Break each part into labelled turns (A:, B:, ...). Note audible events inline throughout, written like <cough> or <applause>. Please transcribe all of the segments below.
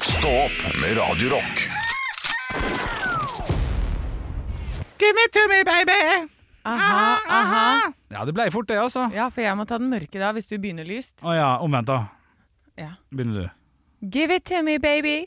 A: Stå opp med Radio Rock.
B: Gimme to me, baby!
C: Aha,
B: Ah,
C: aha.
D: Ja, det blei fort, det, altså.
C: Ja, for jeg må ta den mørke da, hvis du begynner lyst.
D: Å ja, omvendt, da.
C: Ja.
D: Begynner du. Ah,
C: Give it to me, baby.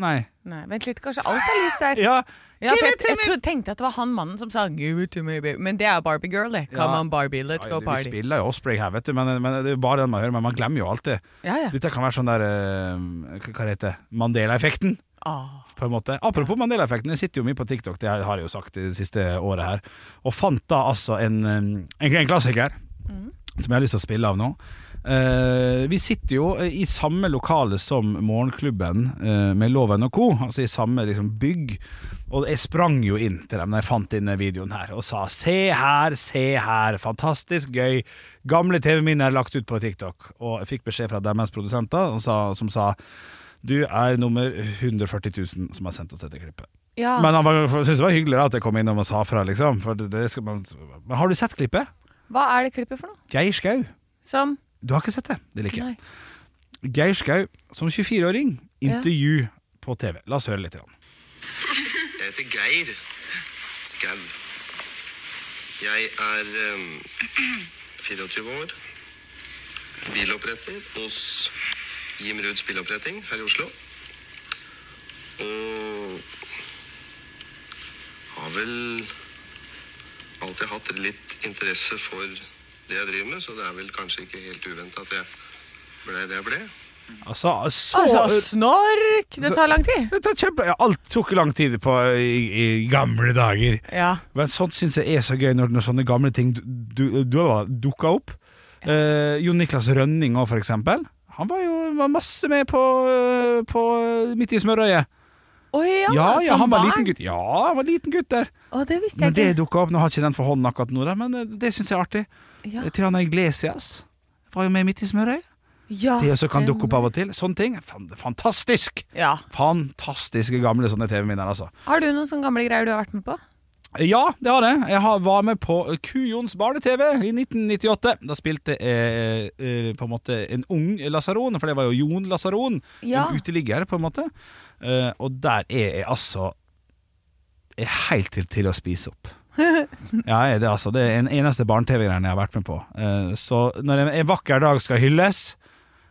D: Nei.
C: Nei, vent litt, kanskje alt er lyst der.
D: Ja,
C: Ja, for
B: Give
C: jeg,
B: it to
C: jeg
B: me.
C: trodde, tenkte at det var han mannen som sa give it to me, baby. Men det er Barbie girl, det. Come
D: Ja.
C: on, Barbie, let's go
D: vi
C: party.
D: spiller jo Osprey her, vet du, men, men det er jo bare den man hører. Men man glemmer jo alltid.
C: Ja, ja.
D: Dette kan være sånn der eh, Hva hva heter det? Mandela-effekten,
C: Ah.
D: på en måte. Apropos Mandela-effekten, jeg sitter jo mye på TikTok, det har jeg jo sagt det siste året her, og fant da altså en, eh, en, en klassiker som jeg har lyst til å spille av nå. Eh, vi sitter jo eh, i samme lokale som Morgenklubben eh, med Loven og co., altså i samme liksom, bygg. Og jeg sprang jo inn til dem da jeg fant denne videoen her, og sa 'se her, se her', fantastisk gøy. Gamle TV-minner er lagt ut på TikTok. Og jeg fikk beskjed fra deres produsenter som sa, som sa 'du er nummer 140 000 som har sendt oss dette klippet'.
C: Ja.
D: Men han var- syntes det var hyggelig da, at jeg kom innom og sa fra, liksom. For det, det skal man, men har du sett klippet?
C: Hva er det klippet for noe?
D: Geir Skau.
C: Som
D: Du har ikke sett det? Det liker
C: Nei.
D: jeg. Geir Skau som 24-åring,
C: Ja.
D: intervju på TV. La oss høre litt. grann.
E: Jeg heter Geir Skau. Jeg er ehm, em, 24 år. Biloppretter hos Jim Ruds Biloppretting her i Oslo. Og har vel alltid hatt litt interesse for det jeg driver med, så det er vel kanskje ikke helt uventa at jeg ble det jeg ble.
D: Altså, så
C: Altså, snork! Det tar lang tid.
D: Dette er kjempe... ja, Alt tok lang tid på i, i gamle dager.
C: Ja.
D: Men sånt syns jeg er så gøy, når, når sånne gamle ting du, du, du, dukker opp. Eh, Jon Niklas Rønning òg, for eksempel. Han var jo var masse med på, eh, på eh, Midt i smørøyet.
C: Oi, ja,
D: Ja, ja,
C: som
D: han var
C: barn.
D: liten gutt. Ja, han var liten gutt der.
C: Å, det visste
D: Når det
C: jeg ikke.
D: dukker opp Nå har ikke den for hånden akkurat nå, da, men eh, det syns jeg er artig.
C: Ja.
D: Eh, Tirana Iglesias var jo med midt i smørøy.
C: Ja,
D: Det også kan dukke opp
C: Ah, stemmer.
D: av og til. Sånne ting. Fan- Fantastisk!
C: Ja.
D: Fantastiske gamle sånne TV-minner, altså.
C: Har du noen sånne gamle greier du har vært med på?
D: Ja, det har jeg. Jeg har, var med på Kujons barne-TV i 1998. Da spilte jeg eh, på en måte en ung Lasaron, for det var jo Jon Lasaron.
C: Ja.
D: En uteligger, på en måte. Eh, og der er jeg altså er helt til, til å spise opp. Ja, jeg er det, altså. det er den eneste barne-TV-greien jeg har vært med på. Eh, så når en, en vakker dag skal hylles,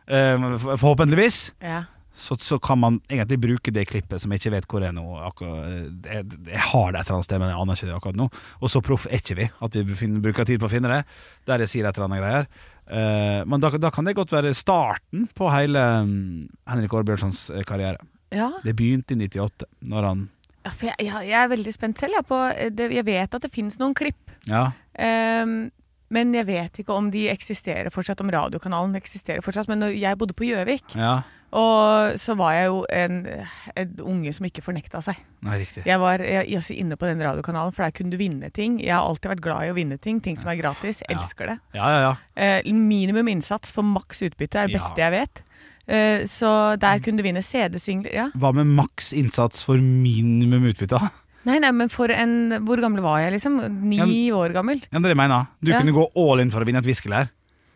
D: eh, for- forhåpentligvis,
C: Ja.
D: så, så kan man egentlig bruke det klippet som jeg ikke vet hvor er nå. akkurat- eh, Jeg, jeg har det et eller annet sted, men jeg aner ikke det akkurat nå. Og så proff er ikke vi, at vi fin- bruker tid på å finne det, der jeg sier et eller annet greier. Eh, men da, da kan det godt være starten på hele mm, Henrik Aarbjørnsons eh, karriere.
C: ja.
D: Det begynte i 98, når han
C: Ja, for jeg, jeg, jeg er veldig spent selv. Jeg, på, eh, det, jeg vet at det finnes noen klipp.
D: Ja,
C: ehm, men jeg vet ikke om de eksisterer fortsatt, om radiokanalen eksisterer fortsatt. Men når jeg bodde på Gjøvik,
D: ja.
C: og så var jeg jo en, en unge som ikke fornekta seg.
D: Nei, riktig.
C: Jeg var jeg, jeg, er også inne på den radiokanalen, for der kunne du vinne ting. Jeg har alltid vært glad i å vinne ting. Ting som er gratis. Elsker det.
D: Ja, ja, ja.
C: Eh, minimum innsats for maks utbytte er det beste
D: Ja. Mm.
C: jeg vet. Eh, så der kunne du vinne CD-singler. Ja.
D: Hva med maks innsats for minimum utbytte?
C: Nei, nei, men for en Hvor gammel var jeg, liksom? Ni
D: Ja,
C: år gammel?
D: Ja, det er det jeg mener. Du
C: Ja.
D: kunne gå all in for å vinne et viskelær.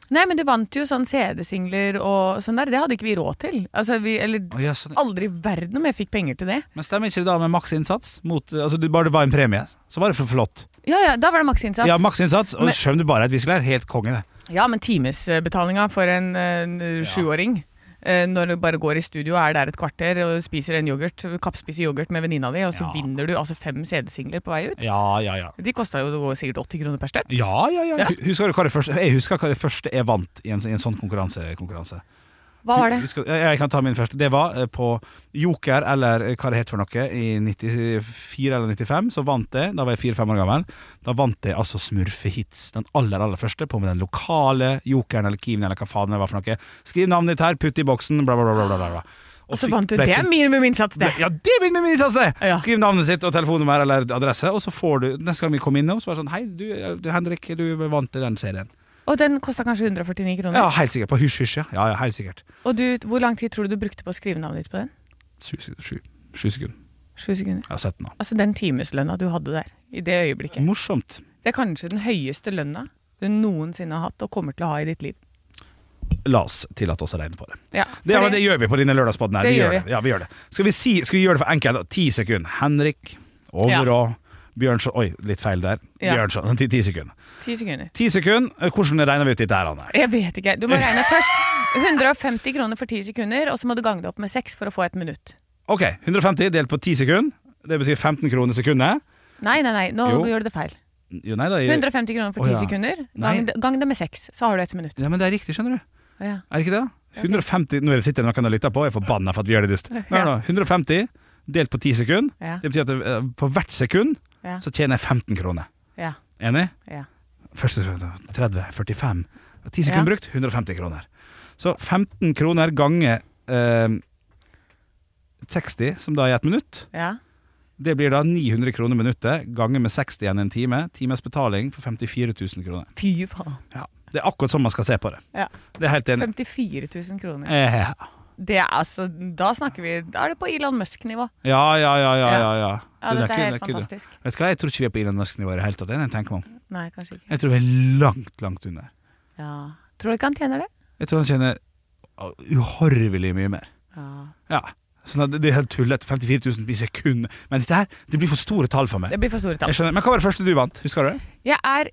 C: Nei, men du vant jo sånn CD-singler og sånn der. Det hadde ikke vi råd til. Altså, vi, eller
D: Å, ja, sånn.
C: aldri i verden om jeg fikk penger til det.
D: Men stemmer ikke det da med maks innsats? Mot, altså, du, bare det var en premie, så var det for flott.
C: Ja, ja, da var det maksinnsats.
D: Ja, maks innsats, og
C: Men-
D: selv om du bare er et viskelær, helt konge det.
C: Ja, men timesbetalinga for en, eh, en sjuåring eh, når du bare går i studio og er der et kvarter og spiser en yoghurt, kappspiser yoghurt med venninna di, og så
D: Ja.
C: vinner du altså fem CD-singler på vei ut.
D: Ja, ja, ja.
C: De kosta jo sikkert 80 kroner per stykk.
D: Ja, ja, ja.
C: Ja.
D: Hu- Husker du hva det første Jeg husker hva det første jeg vant i en, i en sånn konkurranse. konkurranse.
C: Hva var det?
D: Husker, jeg, jeg kan ta min første. Det var eh, på Joker, eller eh, hva det het for noe, i 94 eller 95. Så vant jeg, da var jeg fire-fem år gammel, da vant jeg altså Smurfehits. Den aller, aller første, på med den lokale Jokeren eller Kiwien eller hva faen det var for noe. Skriv navnet ditt her, putt det i boksen, bla, bla, bla. bla, bla, bla.
C: Og så
D: fikk-
C: vant du
D: ble
C: det.
D: kon-
C: Minimum innsats, det.
D: Ja, det vil vi minnes oss det!
C: Ja.
D: Skriv navnet sitt og telefonnummer eller adresse, og så får du Neste gang vi kommer innom, så er det sånn Hei, du, du Henrik, du vant i den serien.
C: Og den kosta kanskje 149 kroner.
D: Ja, helt sikkert. På hysj, hysj, ja. ja. Ja, helt sikkert.
C: Og du, hvor lang tid tror du du brukte på å skrive navnet ditt på den?
D: Sju, sek- sju, sju sekunder.
C: Sju sekunder.
D: Jeg har sett den nå.
C: Altså den timeslønna du hadde der, i det øyeblikket.
D: Morsomt.
C: Det er kanskje den høyeste lønna du noensinne har hatt og kommer til å ha i ditt liv.
D: la oss tillate oss å regne på det.
C: Ja,
D: Det, ja,
C: fordi-
D: men det gjør vi på denne lørdagspodden. her
C: Det
D: vi
C: gjør
D: gjør det.
C: vi.
D: Ja, vi gjør det. Skal, vi si, skal vi gjøre det for enkelt? da? Ti sekunder. Henrik, Overå, Bjørnson Oi, litt feil der.
C: Ja.
D: Bjørnson. <laughs> Ti, ti sekunder.
C: Ti sekunder.
D: Ti sekunder. Eh, Hvordan regner vi ut dette her, Anne?
C: Jeg vet ikke. Du må regne først. 150 kroner for 10 sekunder, og så må du gange det opp med 6 for å få et minutt.
D: Ok, 150 delt på 10 sekunder. Det betyr 15 kroner sekundet.
C: Nei, nei, nei, nå
D: Jo.
C: gjør du det feil.
D: Jo, nei da. jeg-
C: 150 kroner for
D: Å,
C: 10
D: ja.
C: sekunder,
D: Nei.
C: gang, det- gang det med 6, så har du et minutt.
D: Ja, men det er riktig, skjønner du.
C: Å, Ja.
D: Er det ikke det? 150, Nå er det sitter noen og lytter på, jeg er forbanna for at vi gjør det dust. Nei,
C: Ja.
D: nei, 150 delt på 10 sekunder.
C: Ja.
D: Det betyr at eh, på hvert sekund
C: Ja.
D: så tjener jeg 15 kroner.
C: Ja.
D: Enig?
C: Ja.
D: Første sekund, 30, 45 10 sekunder
C: Ja.
D: brukt, 150 kroner Så 15 kroner ganger eh, 60, som da er et minutt
C: ja.
D: Det blir da 900 kroner minuttet Ganger med 60 igjen en time Times betaling for 54 000 kroner
C: Fy faen.
D: Det er akkurat sånn man skal se på det
C: Ja.
D: Det er helt enig
C: 54 000 kroner.
D: eh,
C: Det er altså, da snakker vi Da er det på Elon Musk-nivå.
D: Ja, ja, ja, ja, ja, ja.
C: Ja,
D: Det
C: dette
D: ikke-
C: er helt
D: det ikke-
C: fantastisk.
D: Vet du hva, jeg tror ikke vi er på Elon Musk-nivå i det hele tatt Jeg tenker meg om
C: Nei, kanskje ikke.
D: Jeg tror vi er langt, langt under
C: Ja. Tror du ikke han tjener det?
D: Jeg tror han tjener uh, uhorvelig mye mer
C: Ja.
D: Ja, sånn at det- det er helt tullet 54 000 i sekund Men dette her, det blir for store tall for meg
C: Det blir for store tall.
D: Jeg skjønner, Men hva var det første du vant? Husker du det?
C: Jeg er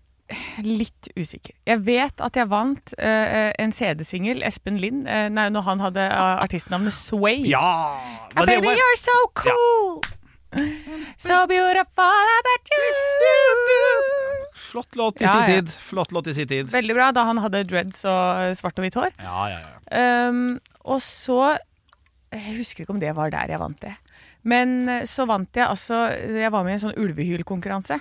C: litt usikker. Jeg vet at jeg vant eh, en CD-singel, Espen Lind, eh, nei, når han hadde eh, artistnavnet Sway.
D: Ja!
C: Ah, baby, you're so cool! So beautiful about you!
D: Flott låt i
C: Ja,
D: sin
C: ja.
D: tid Flott låt i sin tid
C: Veldig bra, da han hadde dreads og eh, svart og hvitt hår.
D: Ja, ja, ja
C: Um, og så Jeg husker ikke om det var der jeg vant det. Men eh, så vant jeg altså Jeg var med i en sånn ulvehylkonkurranse.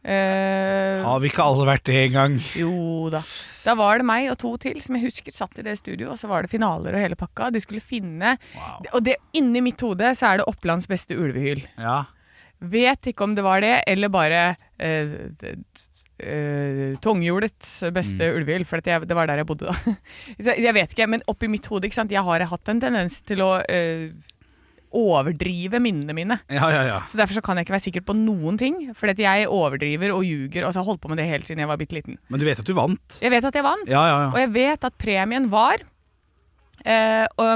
C: Eh,
D: Har vi ikke alle vært det en gang?
C: Jo da. Da var det meg og to til som jeg husker satt i det studioet, og så var det finaler og hele pakka. De skulle finne
D: Wow.
C: Og det, inni mitt hode så er det Opplands beste ulvehyl.
D: Ja
C: Vet ikke om det var det, eller bare eh, d- d- eh, Tunghjulets beste ulvehyl, for at jeg, det var der jeg bodde da. <laughs> Så jeg vet ikke, men oppi mitt hode, ikke sant. Jeg har hatt en tendens til å eh, overdrive minnene mine.
D: Ja, ja, ja
C: Så derfor så kan jeg ikke være sikker på noen ting. For at jeg overdriver og ljuger, og så har jeg holdt på med det helt siden jeg var bitte liten.
D: Men du vet at du vant?
C: Jeg vet at jeg vant.
D: Ja, ja,
C: Og
D: ja
C: jeg vet at premien var eh, og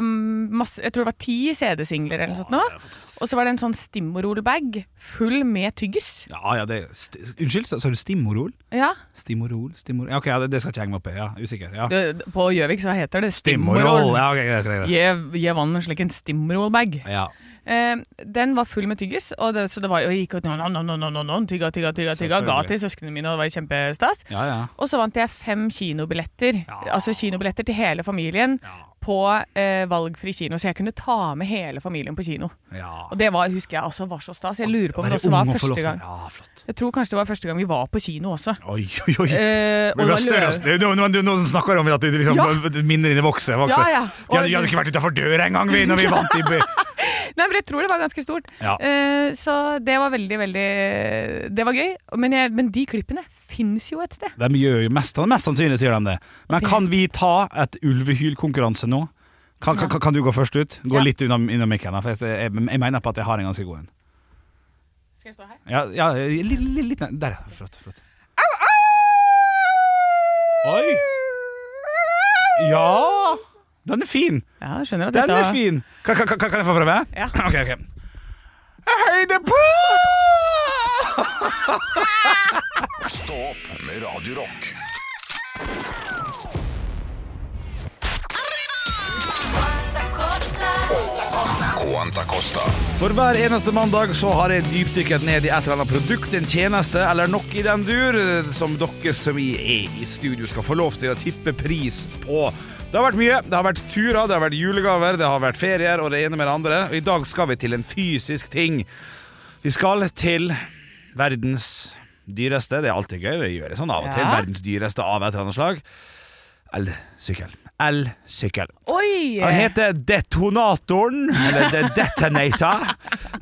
C: masse, Jeg tror det var ti CD-singler eller noe sånt. nå. Og så var det en sånn Stimorol-bag full med tyggis.
D: Ja, ja, det er sti- Unnskyld, sa sa du stimorol?
C: Ja.
D: Stimorol, stimorol Ja, ok, ja, det, det skal jeg ikke henge meg opp i Ja, usikker ja.
C: Det- På Gjøvik så heter det
D: Stimorol
C: Stimorol.
D: Ja, ok, greit, greit, greit.
C: Jeg, jeg vant en slik en Stimorol-bag.
D: Ja,
C: Eh, den var full med tyggis, og det, så det var, og jeg gikk ut no, no, no, no, no, no, no, tygga, tygga, tygga, tygga, ga
D: Selvfølgelig.
C: til søsknene mine, og det var kjempestas.
D: ja, ja
C: Og så vant jeg fem kinobilletter, altså kinobilletter til hele familien, på eh, valgfri kino, så jeg kunne ta med hele familien på kino.
D: Ja
C: Og det var, husker jeg altså var så stas. Jeg lurer på om
D: Være
C: det også var
D: ung og få lov
C: første
D: til-
C: gang.
D: Ja, flott
C: Jeg tror kanskje det var første gang vi var på kino
D: <laughs>
C: også.
D: Oi, oi, oi
C: Eh, og det
D: Men vi har
C: var
D: større,
C: lø-
D: og større- nå, nå, nå snakker du om at du liksom,
C: Ja.
D: minner dine vokser. vokser.
C: Ja, ja.
D: Vi, hadde, vi hadde ikke vært utenfor døra engang vi, når vi vant. I, by-
C: Nei, for jeg tror det var ganske stort.
D: <laughs> Ja.
C: Eh, så det var veldig, veldig Det var gøy. Men, jeg, men de klippene fins jo et sted.
D: de gjør jo mest, mest sannsynlig så gjør de det. Men kan vi ta et ulvehylkonkurranse nå? Kan, kan, kan du gå først ut? Gå
C: Ja.
D: litt unna, unna mikken. her, For jeg, jeg, jeg mener på at jeg har en ganske god en.
C: Skal jeg stå her?
D: Ja, ja litt, litt, litt ned- Der, ja. Flott. flott. Oi! Ja! Den er fin.
C: Ja, jeg skjønner at
D: Den
C: dette
D: er fin. Kan, kan, kan- kan jeg få prøve?
C: Ja.
D: <clears throat> Ok, ok. Høydepunkt!
A: Stå opp med Radio Rock. Quanta Costa.
D: For hver eneste mandag så har jeg dypdykket ned i et eller annet produkt, en tjeneste eller nok i den dur, eh, som dere som er i studio skal få lov til å tippe pris på. Det har vært mye. Det har vært turer, det har vært julegaver, det har vært ferier og det ene med det andre. Og i dag skal vi til en fysisk ting. Vi skal til verdens dyreste. Det er alltid gøy, det gjør jeg sånn av og til.
C: Ja.
D: Verdens dyreste av et eller annet slag. Elsykkel. Elsykkel.
C: Oi!
D: Han heter Detonatoren, eller The Detonator.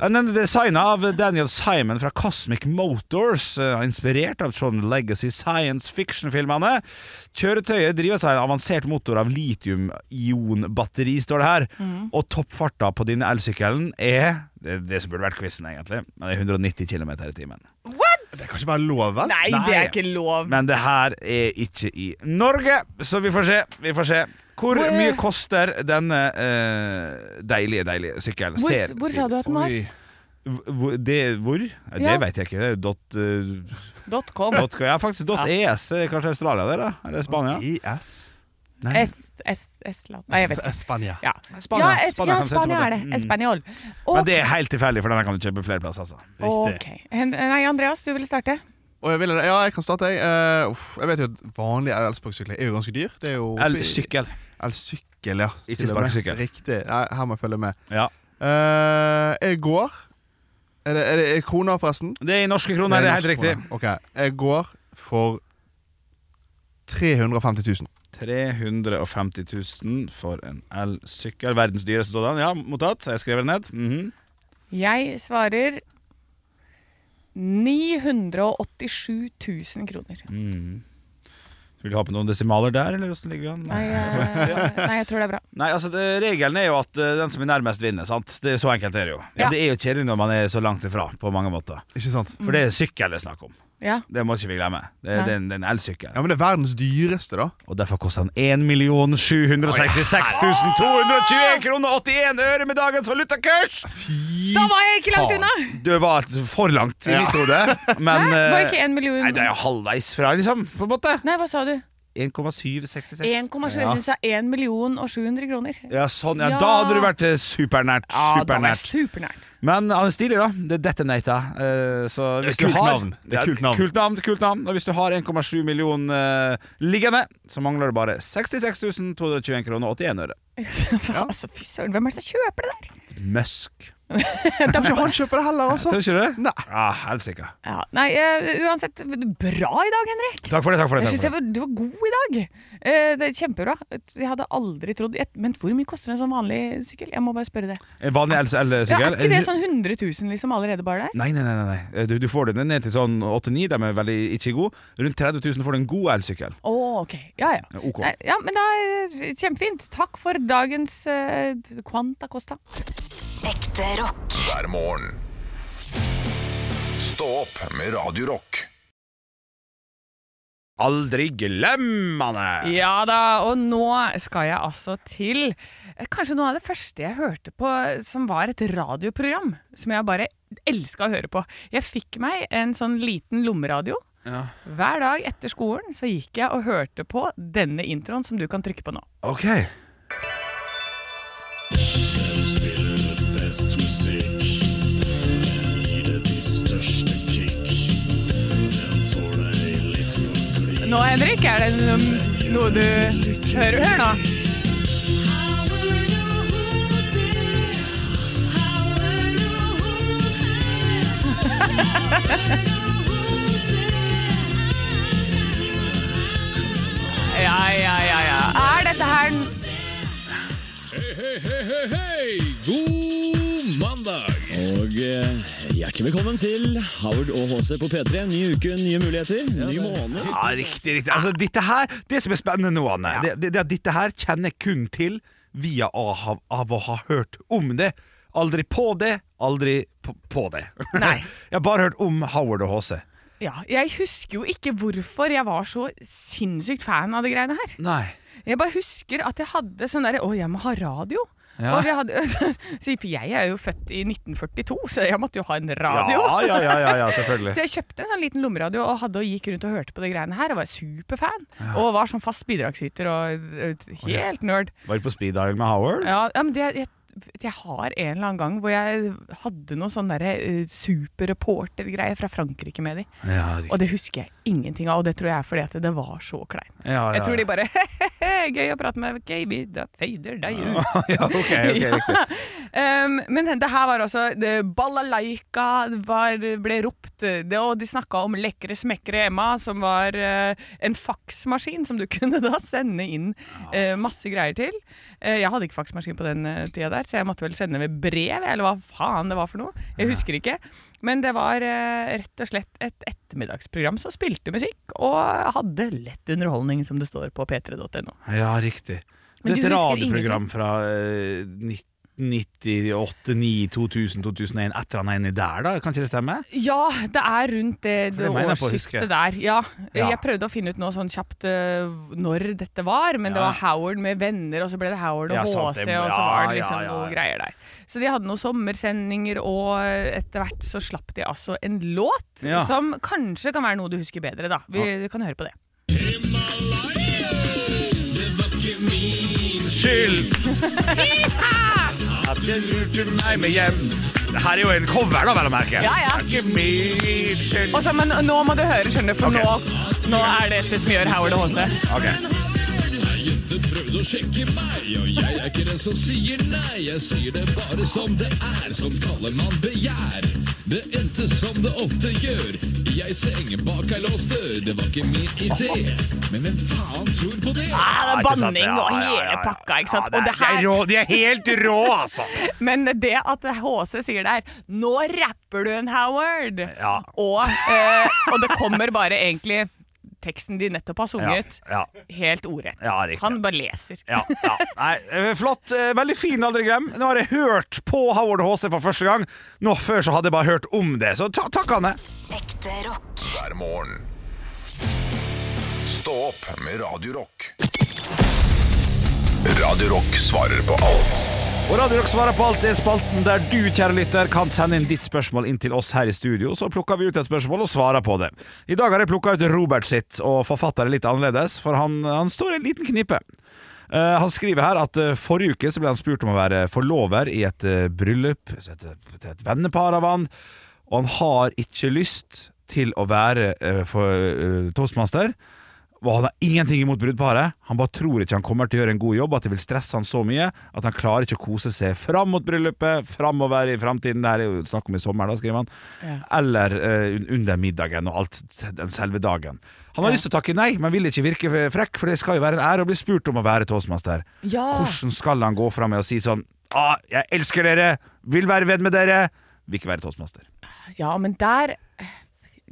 D: Den er designa av Daniel Simon fra Cosmic Motors, eh, inspirert av Tron Legacy science fiction-filmene. Kjøretøyet drives av en avansert motor av litium-ion-batteri, står det her.
C: Mm.
D: Og toppfarta på denne elsykkelen er det, er det som burde vært quizen, egentlig. Men det er 190 km i timen.
C: What?
F: Det kan ikke være lov, vel?
C: Nei, det
D: Nei.
C: er ikke lov.
D: Men det her er ikke i Norge, så vi får se. Vi får se. Hvor mye koster denne eh, deilige, deilige sykkelen?
C: Hvor,
D: Ser-
C: hvor sa du at den var?
F: Oi.
D: Hvor? Det, hvor? Ja, Det
C: Ja.
D: vet jeg ikke. Det er jo dot, eh,
C: Dot com.
D: dot, ja, faktisk dot ES. eh, Kanskje Australia der, da? Eller Spania?
F: IS.
D: Nei.
C: Es- es- Estland Nei, jeg vet ikke.
F: Spania.
C: Ja,
D: Spania.
C: ja, es,
D: Spania
C: ja,
D: kan se ut som
C: Spania er
D: det.
C: det.
D: Mm.
C: Espanol.
D: Men det er helt tilfeldig, for denne kan du kjøpe flere plasser. Altså.
F: Riktig.
C: Ok. Hen- Nei, Andreas, du ville starte.
F: Og jeg vil, ja, jeg kan starte, jeg. Eh, uff, jeg vet jo at vanlige elsparkesykler er jo ganske dyr. Det er jo
D: Eller sykkel.
F: Elsykkel, ja.
D: Ikke
F: Til og med.
D: sparkesykkel.
F: Riktig. Nei, her må jeg følge med.
D: Ja.
F: Eh, jeg går Er det, er det er kroner, forresten?
D: Det er i norske kroner, det er helt
F: norske
D: riktig.
F: kroner. Ok, Jeg går for 350 000.
D: 350 000 for en elsykkel. Verdens dyreste sådan. Ja, mottatt. Jeg skrev det ned. Mhm.
C: Jeg svarer 987 000 kroner.
D: Mhm. Vil du ha på noen desimaler der, eller åssen ligger vi an?
C: Nei, jeg, eh, nei, jeg tror det er bra.
D: Nei, altså det, Regelen er jo at eh, den som er nærmest, vinner. sant? Det er Så enkelt er det jo.
C: Ja.
D: Det er jo kjedelig når man er så langt ifra, på mange måter.
F: Ikke sant?
D: For
C: Mm.
D: det er sykkel det er snakk om.
C: Ja.
D: Det må ikke vi glemme. Det,
C: Nei.
D: det, er en- det er en elsykkel.
F: Ja, men Det er verdens dyreste, da.
D: Og derfor koster den 1 766 221 kroner og 81 øre med dagens valutakurs!
C: Da var jeg ikke langt unna!
D: Det var for langt i mitt hode, men
C: Hæ? Var
D: eh,
C: ikke en million
D: Nei, det er jo halvveis fra, liksom, på en måte.
C: Nei, hva sa du? 1,7
D: 1,766.
C: Jeg
D: Ja.
C: syns det er 1 million og 700 kroner.
D: Ja, sånn, ja,
C: Ja.
D: Da hadde du vært eh, supernært.
C: da var jeg
D: supernært.
C: <laughs> supernært.
D: Men han er stilig, da. Det er Detonata. eh, så hvis du
F: kult
D: har-
F: navn. Det er
D: Ja,
F: kult navn.
D: Kult navn, kult navn. Og hvis du har 1,7 millioner eh, liggende, så mangler det bare 66 221 kroner og 81 øre.
C: Altså, fy søren, hvem er det som kjøper det der?
D: Musk.
F: Jeg tror ikke han kjøper det heller, altså.
D: Tror ikke du det?
F: Nei.
D: Ja, Helsike.
C: Ja, nei, eh, uansett, bra i dag, Henrik.
D: Takk for det. takk for det,
C: Jeg syns
D: takk for det.
C: du var god i dag. Eh, Det er Kjempebra. Jeg hadde aldri trodd jeg- Men hvor mye koster en sånn vanlig sykkel? Jeg må bare spørre det.
D: En vanlig
C: Ja, er
D: elsykkel?
C: ikke det sånn 100 000 liksom allerede bare der?
D: Nei, nei, nei. nei, nei. Eh, Du, du får den ned til sånn 8-9, de er veldig ikke gode. Rundt 30 000 får du en god elsykkel.
C: Å, ok. Ja, ja.
D: Ja, ok.
C: Nei, ja, men da eh, Kjempefint. Takk for dagens eh, Quanta Costa.
G: Ekte rock.
A: hver morgen. Stå opp med Radio Rock.
D: Aldri glem han er!
C: Ja da, og nå skal jeg altså til eh, kanskje noe av det første jeg hørte på som var et radioprogram, som jeg bare elska å høre på. Jeg fikk meg en sånn liten lommeradio. Hver dag etter skolen så gikk jeg og hørte på denne introen som du kan trykke på nå.
D: Ok.
C: Nå, Henrik, er det noe, noe du hører? Hør nå. <laughs> Ja, ja, ja, ja. Er dette her den
H: God mandag! Og eh, hjertelig velkommen til Howard og HC på P3. Ny uke, nye muligheter, ny måned.
D: Ja, riktig, riktig. Altså, dette her, det som er spennende nå, Anne, det, det, det er at dette her kjenner jeg kun til via av, av å ha hørt om det. Aldri på det, aldri på, på det.
C: Nei.
D: jeg har bare hørt om Howard og HC.
C: Ja, jeg husker jo ikke hvorfor jeg var så sinnssykt fan av de greiene her.
D: Nei.
C: Jeg bare husker at jeg hadde sånn derre Å, jeg må ha radio.
D: Ja.
C: Og vi hadde, <laughs> så for jeg er jo født i 1942, så jeg måtte jo ha en
D: Ja,
C: radio.
D: ja, ja, ja, ja selvfølgelig.
C: <laughs> Så jeg kjøpte en sånn liten lommeradio og hadde og gikk rundt og hørte på de greiene her. Og var superfan. Og var sånn fast bidragsyter og øh, helt nerd.
D: Var du på speed dial med Howard?
C: Ja, ja men det, jeg, jeg har en eller annen gang hvor jeg hadde noe sånn derre øh, superreportergreie fra Frankrike med de.
D: Ja, riktig.
C: Og det husker jeg ingenting av, og det tror jeg er fordi at det var så kleint.
D: Ja, ja,
C: Jeg tror de
D: ja. <laughs>
C: bare <laughs> Gøy å prate med, baby, da fader deg ut.
D: Ja, ok, ok, riktig.
C: Um, men det her var altså det, Balalaika var, ble ropt, det, og de snakka om lekre smekkere Emma, som var eh, en faksmaskin som du <laughs> kunne da sende inn eh, masse greier til. Eh, jeg hadde ikke faksmaskin på den eh, tida der, så jeg måtte vel sende med brev, eller hva faen det var for noe. Jeg husker ikke. Men det var eh, rett og slett et ettermiddagsprogram som spilte musikk og hadde lett underholdning, som det står på p3.no.
D: Ja, riktig.
C: Men
D: Det er
C: du
D: et
C: husker
D: radioprogram fra eh, nitt- 1998, 2000, 2001, et eller annet inni der, da? Kan ikke det stemme?
C: Ja, det er rundt det,
D: For det
C: det
D: mener jeg på å huske.
C: årsskiftet der. Ja.
D: Ja.
C: Jeg prøvde å finne ut noe sånn kjapt eh, når dette var, men det
D: Ja.
C: var Howard med venner, og så ble det Howard og
D: Ja, sant,
C: HC,
D: det-
C: og så var
D: ja,
C: det liksom
D: ja, ja,
C: noe
D: ja.
C: greier der. Så de hadde noen sommersendinger, og etter hvert så slapp de altså en låt
D: Ja.
C: som kanskje kan være noe du husker bedre, da. Vi kan høre på det.
D: Skyld! At jeg lurte meg med hjem. Det her er jo en cover, da, vel å
C: Ja,
D: merke.
C: ja.
D: Det er ikke min skyld.
C: Og så, men nå må du høre, skjønner du, for
D: Ok.
C: nå, nå er det dette som gjør Howard og HC.
D: Ok.
H: Jente prøvde å sjekke meg, og jeg er ikke den som sier nei. Jeg sier det bare som det er, som kaller man begjær. Det endte som det ofte gjør, i ei seng bak ei låst dør. Det var ikke min idé, men hvem faen tror på det?
C: Ja, Ah, det er
D: ikke sant,
C: banning
D: ja,
C: og
D: ja, ja, ja.
C: hele pakka, ikke sant.
D: Ja,
C: Og
D: det
C: det
D: er, det
C: her
D: er rå, de er helt rå,
C: <laughs>
D: altså!
C: Men det at HC sier der 'Nå rapper du en Howard',
D: Ja.
C: og, eh, og det kommer bare egentlig teksten de nettopp har sunget,
D: Ja,
C: helt ordrett.
D: Ja, riktig.
C: Han bare leser.
D: Ja, ja. Nei, eh, flott. Eh, Veldig fin, aldri glem. Nå har jeg hørt på Howard HC for første gang. Nå Før så hadde jeg bare hørt om det, så ta, takk, Anne.
G: Ekte rock.
A: hver morgen. Stå opp med Radio Rock. Radio Rock svarer på alt
D: Og Radio Rock svarer på alt det er spalten der du, kjære lytter, kan sende inn ditt spørsmål inn til oss her i studio. Så plukker vi ut et spørsmål og svarer på det. I dag har jeg plukka ut Robert sitt, og forfatter er litt annerledes, for han, han står i en liten knipe. Eh, han skriver her at eh, forrige uke så ble han spurt om å være forlover i et eh, bryllup så et, til et vennepar av han, og han har ikke lyst til å være eh, for, eh, toastmaster. Og han har ingenting imot bruddparet. Han bare tror ikke han kommer til å gjøre en god jobb, at det vil stresse han så mye at han klarer ikke å kose seg fram mot bryllupet, framover i framtiden. Det her er jo snakk om i sommer, da, skriver han. Eller eh, un- under middagen og alt den selve dagen. Han har lyst til å takke nei, men vil ikke virke frekk, for det skal jo være en ære å bli spurt om å være toastmaster.
C: Ja.
D: Hvordan skal han gå fram med å si sånn ah, 'Jeg elsker dere, vil være venn med dere', vil ikke være toastmaster.
C: <laughs> ja, men der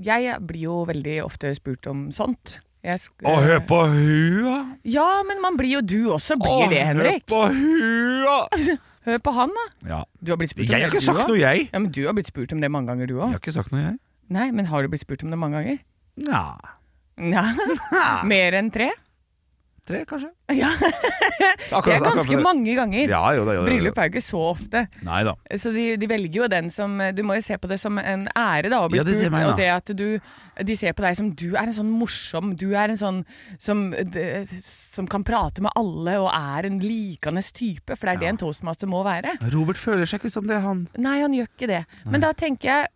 C: Jeg blir jo veldig ofte spurt om sånt. Jeg sk-
D: Å, hør på hua!
C: Ja, men man blir jo du også, blir det, Henrik.
D: Hør på hua!
C: Hør på han, da.
D: Ja.
C: Du har blitt spurt om
D: Jeg har
C: det,
D: ikke
C: du
D: sagt
C: også.
D: noe, jeg.
C: Ja, men Du har blitt spurt om det mange ganger, du
D: Jeg
C: òg.
D: har ikke sagt noe, jeg.
C: Nei, men har du blitt spurt om det mange ganger? <laughs>
D: Nja
C: Nei.
D: <laughs>
C: Mer enn tre?
D: Tre, kanskje.
C: Ja.
D: Akkurat,
C: Det er
D: akkurat
C: ganske
D: for-
C: mange ganger.
D: Ja, jo da, jo da, jo da.
C: Bryllup er jo ikke så ofte.
D: Nei da.
C: Så de, de velger jo den som Du må jo se på det som en ære, da, å bli
D: Ja, det er det jeg
C: spurt.
D: mener.
C: Og det at du De ser på deg som du er en sånn morsom Du er en sånn som, de, som kan prate med alle og er en likende type, for det er det en toastmaster må være.
D: Robert føler seg ikke som det, han.
C: Nei, han gjør ikke det. Men da tenker jeg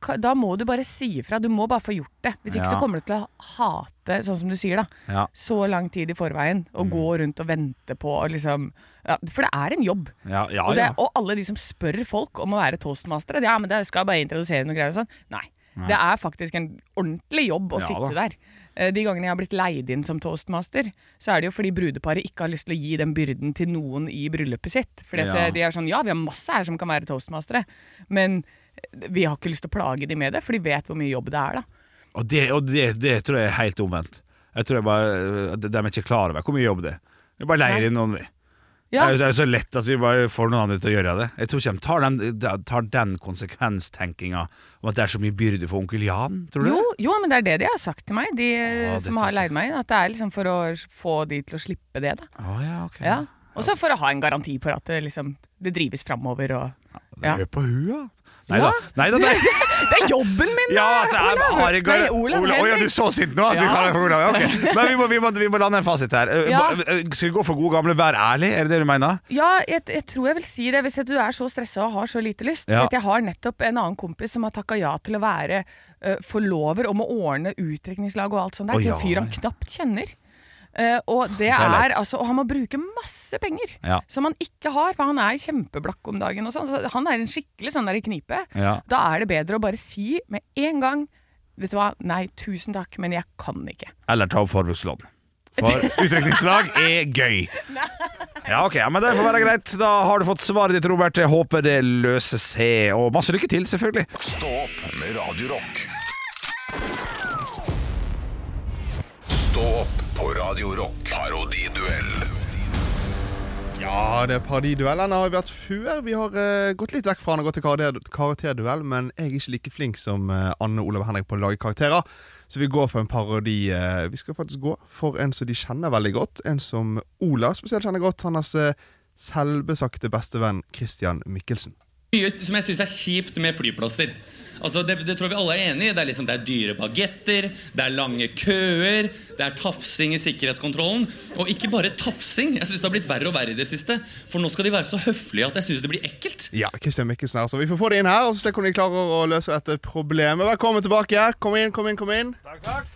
C: ka- da må du bare si ifra. Du må bare få gjort det. Hvis ikke
D: Ja.
C: så kommer du til å hate, sånn som du sier, da.
D: Ja. Mm.
C: Så lang tid i forveien. Og gå rundt og vente på og liksom ja, For det er en jobb.
D: Ja, ja,
C: og, det,
D: ja.
C: og alle de som spør folk om å være toastmaster Ja, men det skal jeg bare introdusere noe greier og sånn. Nei. Det er faktisk en ordentlig jobb å
D: Ja
C: sitte
D: da.
C: der. Eh, De gangene jeg har blitt leid inn som toastmaster, så er det jo fordi brudeparet ikke har lyst til å gi den byrden til noen i bryllupet sitt. Fordi at
D: Ja.
C: de er sånn Ja, vi har masse her som kan være toastmastere, men eh, vi har ikke lyst til å plage de med det, for de vet hvor mye jobb det er, da.
D: Og, det, og det, det tror jeg er helt omvendt. Jeg tror jeg bare eh, De de er ikke klar over hvor mye jobb det er. Vi bare leier inn noen, vi.
C: Ja,
D: Det er jo- det er jo så lett at vi bare får noen andre til å gjøre det. Jeg tror ikke de tar den, de tar den konsekvenstenkinga om at det er så mye byrde for onkel Jan, tror du?
C: jo, jo, men det er det de har sagt til meg, de eh,
D: Å, det
C: som
D: tror
C: har
D: jeg.
C: leid meg inn. At det er liksom for å få de til å slippe det, da.
D: Å, ja, ok.
C: Ja. Og så for å ha en garanti på at det, liksom, det drives framover og ja.
D: Hør på hua! Nei
C: Ja.
D: da. Nei da, nei.
C: <laughs> Det er jobben min!
D: Ja,
C: da,
D: at det er
C: Olav.
D: Are Gar-
C: Nei, Olav
D: Olav- Å ja, du
C: Henrik.
D: er så sint nå at du
C: Ja.
D: kaller meg for Olav.
C: <laughs>
D: Ja, ok. Men vi må, vi, må, vi må lande en fasit her. Eh,
C: Ja.
D: ba- eh, Skal vi gå for gode gamle 'vær ærlig'? Er det det du mener?
C: Ja, jeg, jeg tror jeg vil si det, hvis at du er så stressa og har så lite lyst.
D: Ja.
C: For at jeg har nettopp en annen kompis som har takka ja til å være eh, forlover og må ordne utdrikningslag og alt sånt der,
D: Å,
C: til
D: ja.
C: en fyr han knapt kjenner. Eh, og det,
D: er
C: er,
D: leit.
C: altså Og han må bruke masse penger
D: Ja.
C: som han ikke har, for han er kjempeblakk om dagen og sånn. Så han er en skikkelig sånn der i knipe.
D: Ja.
C: Da er det bedre å bare si med en gang Vet du hva, nei, tusen takk, men jeg kan ikke.
D: Eller ta opp forbrukslån.
C: <laughs>
D: For utdrikningslag er gøy. Ja, ok, ja, men Det får være greit. Da har du fått svaret ditt, Robert. Jeg håper det løser seg. Og masse lykke til, selvfølgelig.
A: Stå opp med Radio Rock Stå opp på Radio Rock Parodiduell
F: Ja, det er parodiduellen har vi vært før. Vi har eh, gått litt vekk fra han og gått til karakter, karakterduell, men jeg er ikke like flink som eh, Anne Olav og Henrik på å lage karakterer. Så vi går for en parodi. eh, vi skal faktisk gå for en som de kjenner veldig godt. En som Ola spesielt kjenner godt. Hans eh, selvbesagte bestevenn Christian Mikkelsen.
I: mye som jeg syns er kjipt med flyplasser. Altså, det, det tror jeg vi alle er enig i. Det er, liksom, det er dyre bagetter, det er lange køer, det er tafsing i sikkerhetskontrollen. Og ikke bare tafsing. Jeg syns det har blitt verre og verre i det siste. For nå skal de være så høflige at jeg syns det blir ekkelt.
F: Ja, Christian Mikkelsen her, så vi får få det inn her og så se om de klarer å løse dette problemet. Velkommen tilbake. Kom inn, kom inn, kom inn. Takk, takk.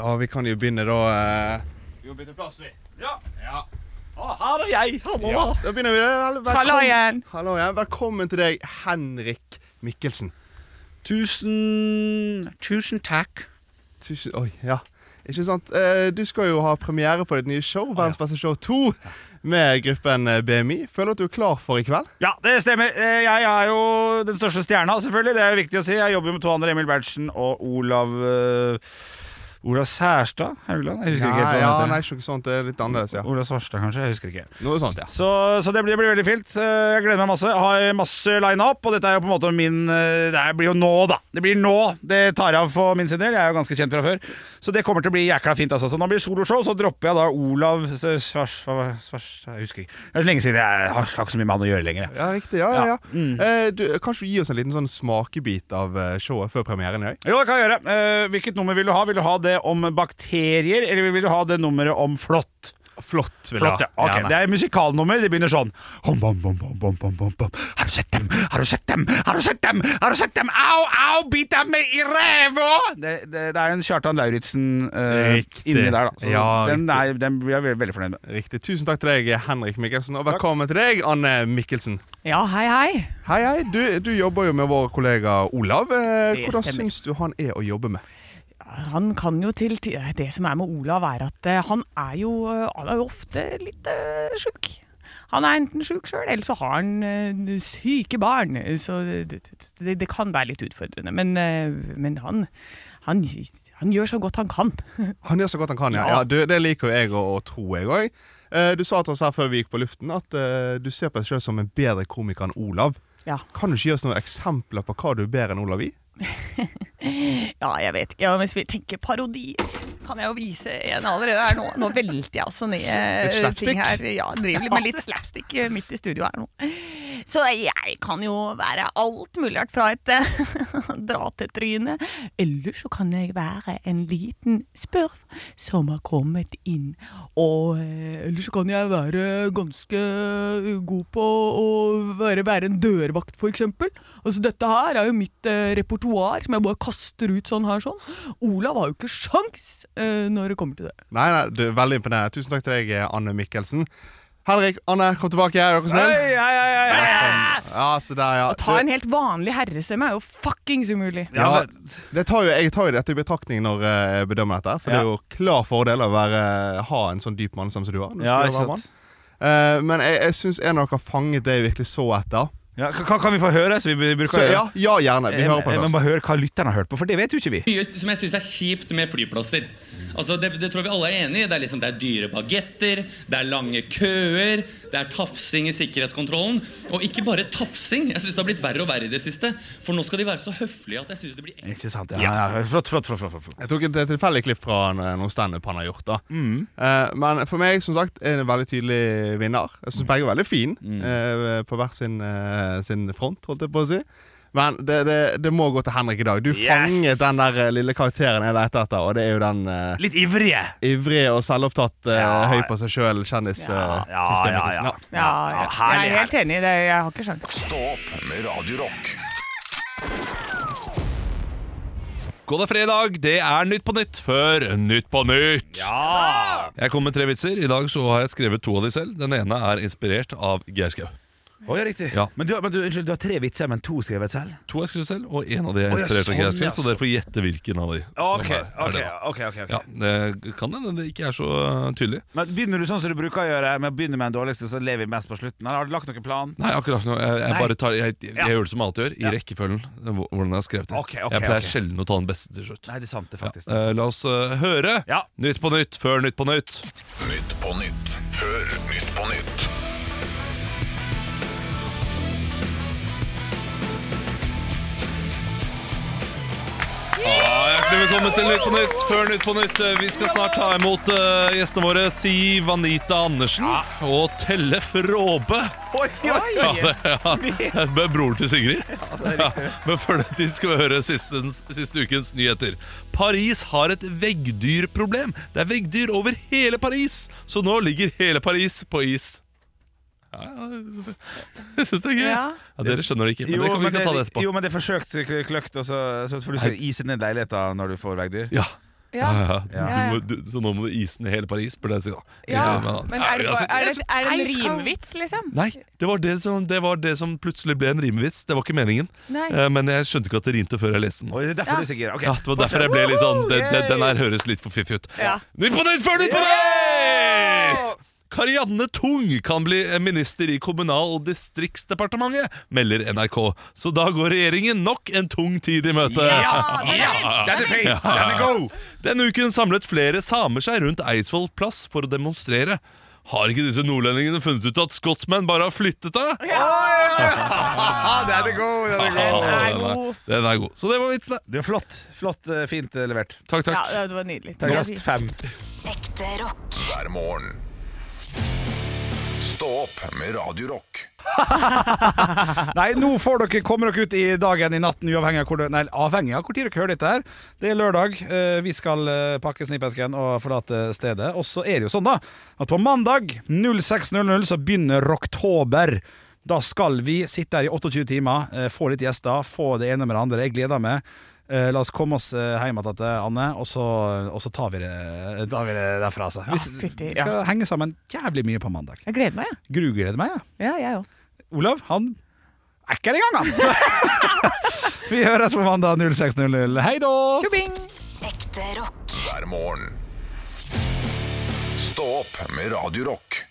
F: Ja, Vi kan jo begynne, da. eh, Vi må bytte plass, vi.
D: her er jeg! Hallo!
F: Ja, da begynner vi. Vel- velkommen-
C: Hallo igjen.
F: Hallo igjen. Velkommen til deg, Henrik Mikkelsen.
D: Tusen Tusen takk.
F: Tusen, oi, ja. Ikke sant? Eh, Du skal jo ha premiere på ditt nye show, Verdens beste show 2, med gruppen eh, BMI. Føler du at du er klar for i kveld?
D: Ja, det stemmer. Eh, Jeg er jo den største stjerna, selvfølgelig. Det er jo viktig å si. Jeg jobber jo med to andre, Emil Berntsen og Olav eh, Olav Særstad Haugland? Jeg husker ikke helt hva
F: ja,
D: han
F: nei,
D: heter.
F: ikke noe sånt. Det er litt annerledes, ja.
D: Olav Svarstad, kanskje? Jeg husker ikke.
F: Noe sånt, ja.
D: Så, så det blir, blir veldig fint. Eh, Jeg gleder meg masse. Jeg har masse line-up, og dette er jo på en måte min eh, Det her blir jo nå, da. Det blir nå det tar av for min sin del. Jeg er jo ganske kjent fra før. Så det kommer til å bli jækla fint. Altså. Så nå blir det soloshow, så dropper jeg da Olav S- Svars... hva var det? Svars jeg husker ikke. Det er så lenge siden jeg har har ikke så mye med han å gjøre lenger. Jeg.
F: Ja, riktig. Ja, ja, ja. Eh, Du, kanskje du gir oss en liten sånn smakebit av eh, showet før premieren i dag?
D: Jo, det kan jeg gjøre. Eh, hvilket nummer vil du ha? Vil du ha det om bakterier, eller vil du ha det nummeret om flått?
F: Flott, vil jeg
D: Flott,
F: ha.
D: ja. Ok,
F: Gjerne.
D: Det er musikalnummer. Det begynner sånn Hom, bom, bom, bom, bom, bom, bom, bom. Har du sett dem? Har du sett dem? Har du sett dem? Har du sett dem? Au, au, bit dem i ræva! Det, det, det er en Kjartan Lauritzen eh,
F: Riktig.
D: inni der, da. Så
F: Ja,
D: den, er, den blir jeg veldig, veldig fornøyd med.
F: Riktig. Tusen takk til deg, Henrik Mikkelsen, og velkommen til deg, Anne Mikkelsen.
C: Ja, hei, hei.
F: Hei, hei. Du, du jobber jo med vår kollega Olav. Eh,
C: Det
F: Hvordan
C: stemmer.
F: syns du han er å jobbe med?
C: Han kan jo til ti- eh, Det som er med Olav, er at eh, han er jo, eh, han er jo ofte litt uh, sjuk. Han er enten sjuk sjøl, eller så har han eh, syke barn. Så det, det, det kan være litt utfordrende. Men, eh, men han, han, han gjør så godt han kan. <laughs>
F: Han gjør så godt han kan, ja. ja du, det liker jo jeg å, å tro, jeg òg. Eh, du sa til oss her før vi gikk på luften at eh, du ser på deg selv som en bedre komiker enn Olav.
C: Ja.
F: Kan du ikke gi oss noen eksempler på hva du er bedre enn Olav i?
C: Ja, jeg vet ikke. Ja, hvis vi tenker parodier, kan jeg jo vise en allerede her nå. Nå velter jeg også ned eh,
F: slapstick?
C: ting her. Ja, driver med litt slapstick eh, midt i studio her nå. Så jeg kan jo være alt mulig rart fra et eh, <laughs> dra til trynet. Eller så kan jeg være en liten spurv som har kommet inn. Og eh, eller så kan jeg være ganske god på å være, være en dørvakt, for eksempel. Altså, dette her er jo mitt eh, repertoar som jeg bare kaster ut sånn her sånn. Olav har jo ikke sjans eh, når det kommer til det.
F: Nei, nei, du, Veldig imponerende. Tusen takk til deg, eh, Anne Mikkelsen. Henrik, Anne, kom tilbake. Er dere
D: Hei,
F: snill?
D: hei, hei, hei, hei.
F: Ja, se der, ja.
C: Å ta
F: Du-
C: en helt vanlig herrestemme er jo fuckings umulig.
F: Ja,
D: Ja,
F: det tar jo, jeg tar jo dette i betraktning når eh, jeg bedømmer dette. For det er jo klar fordel å være, ha en sånn dyp mannestemme som du har. når du
D: Ja,
F: skal
D: ikke
F: være
D: sant.
F: mann. Eh, men jeg, jeg syns en av dere har fanget det jeg virkelig så etter.
D: Ja, ka- kan vi få høre? Så vi bruker
F: Så ja, ja gjerne. Vi hører på
D: Men
F: først.
D: bare hør hva lytteren har hørt på, for det vet jo ikke vi.
I: Mye som jeg syns er kjipt med flyplasser. Altså, det, det tror jeg vi alle er enig i. Det er, liksom, det er dyre bagetter, det er lange køer, det er tafsing i sikkerhetskontrollen. Og ikke bare tafsing. Jeg syns det har blitt verre og verre i det siste. For nå skal de være så høflige at jeg syns det blir ekkelt.
D: Ikke sant? Ja, ja. Flott, flott, flott. flott, flott, flott.
F: Jeg tok et eh, tilfeldig klipp fra en- eh, noen standup han har gjort. da
D: Mm.
F: Eh, Men for meg som sagt er det en veldig tydelig vinner. Jeg
D: Mm.
F: syns begge er veldig fine eh, på hver sin, eh, sin front, holdt jeg på å si. Men det, det, det må gå til Henrik i dag. Du fanget den der eh, lille karakteren jeg leter etter, og det er jo den eh,
D: Litt ivrige.
F: ivrig og selvopptatt, eh,
D: Ja.
F: høy på seg sjøl, kjendis. eh,
D: ja,
F: Christian
D: ja,
F: Mikkelsen,
D: ja.
C: Ja, jeg, jeg er helt enig i det. Jeg har ikke sjans.
A: Stå opp med Radio Rock.
J: God er fredag, det er Nytt på Nytt før Nytt på Nytt. Jeg kom med tre vitser. I dag så har jeg skrevet to av de selv. Den ene er inspirert av Geir Skau.
K: ja, riktig.
J: Ja.
K: Men, du, har- men du, unnskyld, du har tre vitser, men to skrevet selv?
J: To jeg skrev selv, og en av de er
K: Å, ja,
J: inspirert av
K: sånn,
J: Geir Skau,
K: ja,
J: så dere får gjette hvilken av de. som
K: Ok,
J: er- er
K: ok,
J: det da.
K: ok, ok, ok.
J: Ja, det kan hende det ikke er så eh, tydelig.
K: Men Begynner du sånn som du bruker å gjøre, med å begynne med den dårligste, så lever vi mest på slutten? Eller har du lagt noen plan?
J: Nei, akkurat nå. Jeg, jeg
K: Nei.
J: bare tar Jeg, jeg,
K: Ja.
J: gjør det som jeg alltid gjør, i rekkefølgen. eh, hvor- Hvordan jeg har skrevet det.
K: Ok, ok,
J: jeg pleier
K: ok.
J: sjelden å ta den beste til slutt.
K: Nei, det er sant, det er faktisk.
J: Eh, la oss eh, høre Nytt på nytt før Nytt på nytt.
A: Nytt på nytt før Nytt på nytt.
J: Ja, hjertelig velkommen til Nytt på nytt før Nytt på nytt. Eh, Vi skal snart ta imot eh, gjestene våre Siv Anita Andersen og Tellef Råbe.
K: Oi, oi,
J: Ja,
K: oi.
J: det, <laughs> ja. det er broren til Sigrid. Ja, men før det tid skal vi høre siste, siste ukens nyheter. Paris har et veggdyrproblem. Det er veggdyr over hele Paris, så nå ligger hele Paris på is. Ja, ja, jeg syns det er gøy. Ja.
C: Ja.
J: dere skjønner det ikke, men
K: Jo,
J: det kan vi
K: men
J: kan ta det etterpå.
K: Jo, men det er forsøkt kl- kløkt, og så, så får du skal ise ned leiligheten når du får veggdyr.
J: Ja. Ja, ja,
C: Ja, ja.
J: Du må, du, så nå må du ise ned hele Paris, burde jeg si da.
C: Ja,
J: men-
C: men er det, bare,
J: Ja, altså-
C: er det, er det en
B: Eiskald.
C: rimvits, liksom?
J: Nei, det var det, som, det var det som plutselig ble en rimevits. Det var ikke meningen.
C: Nei.
J: Eh, Men jeg skjønte ikke at det rimte før jeg leste den.
K: Oi, det er derfor
C: Ja.
K: du er så gira. Ok,
J: Ja, det var derfor jeg ble litt sånn det, det, Den her høres litt for fiffig ut.
C: Ja.
J: Nytt på nytt før Nytt på nytt! Karianne Tung kan bli minister i Kommunal- og distriktsdepartementet, melder NRK. Så da går regjeringen nok en tung tid i møte.
K: Ja, den er- den er fin. Den er god.
J: Denne uken samlet flere samer seg rundt Eidsvoll plass for å demonstrere. Har ikke disse nordlendingene funnet ut at skotsmenn bare har flyttet deg? <laughs>
K: Ah, den er god, den er god.
J: Den er god. Den er god. Så det var vitsene.
K: Du er flott. Flott, eh, fint eh, levert.
J: Takk, takk.
C: Ja, det var nydelig.
K: Terningkast fem.
G: Ekte rock.
A: Hver morgen. Stå opp med Radio Rock.
D: Nei, nå får dere, kommer dere ut i dagen i natten, uavhengig av hvor, dere- nei, avhengig av hvor tid dere hører dette her. Det er lørdag. eh, Vi skal eh, pakke snippesken og forlate stedet. Og så er det jo sånn, da, at på mandag 06.00 så begynner Rocktober. Da skal vi sitte her i 28 timer, eh, få litt gjester, få det ene med det andre. Jeg gleder meg. Eh, La oss komme oss eh, hjem igjen, Anne, og så, og så tar, vi det, tar vi det derfra. Altså. Vi s-
C: fytti,
D: vi
C: ja.
D: skal henge sammen jævlig mye på mandag.
C: Jeg gleder meg, jeg.
D: Grugleder meg, jeg.
C: Ja, jeg òg.
D: Olav, han er ikke det engang, han! <laughs> Vi høres på mandag 06.00. Hei da!
C: Tjobing!
G: Ekte rock.
A: Hver morgen. Stå opp med Radio Rock.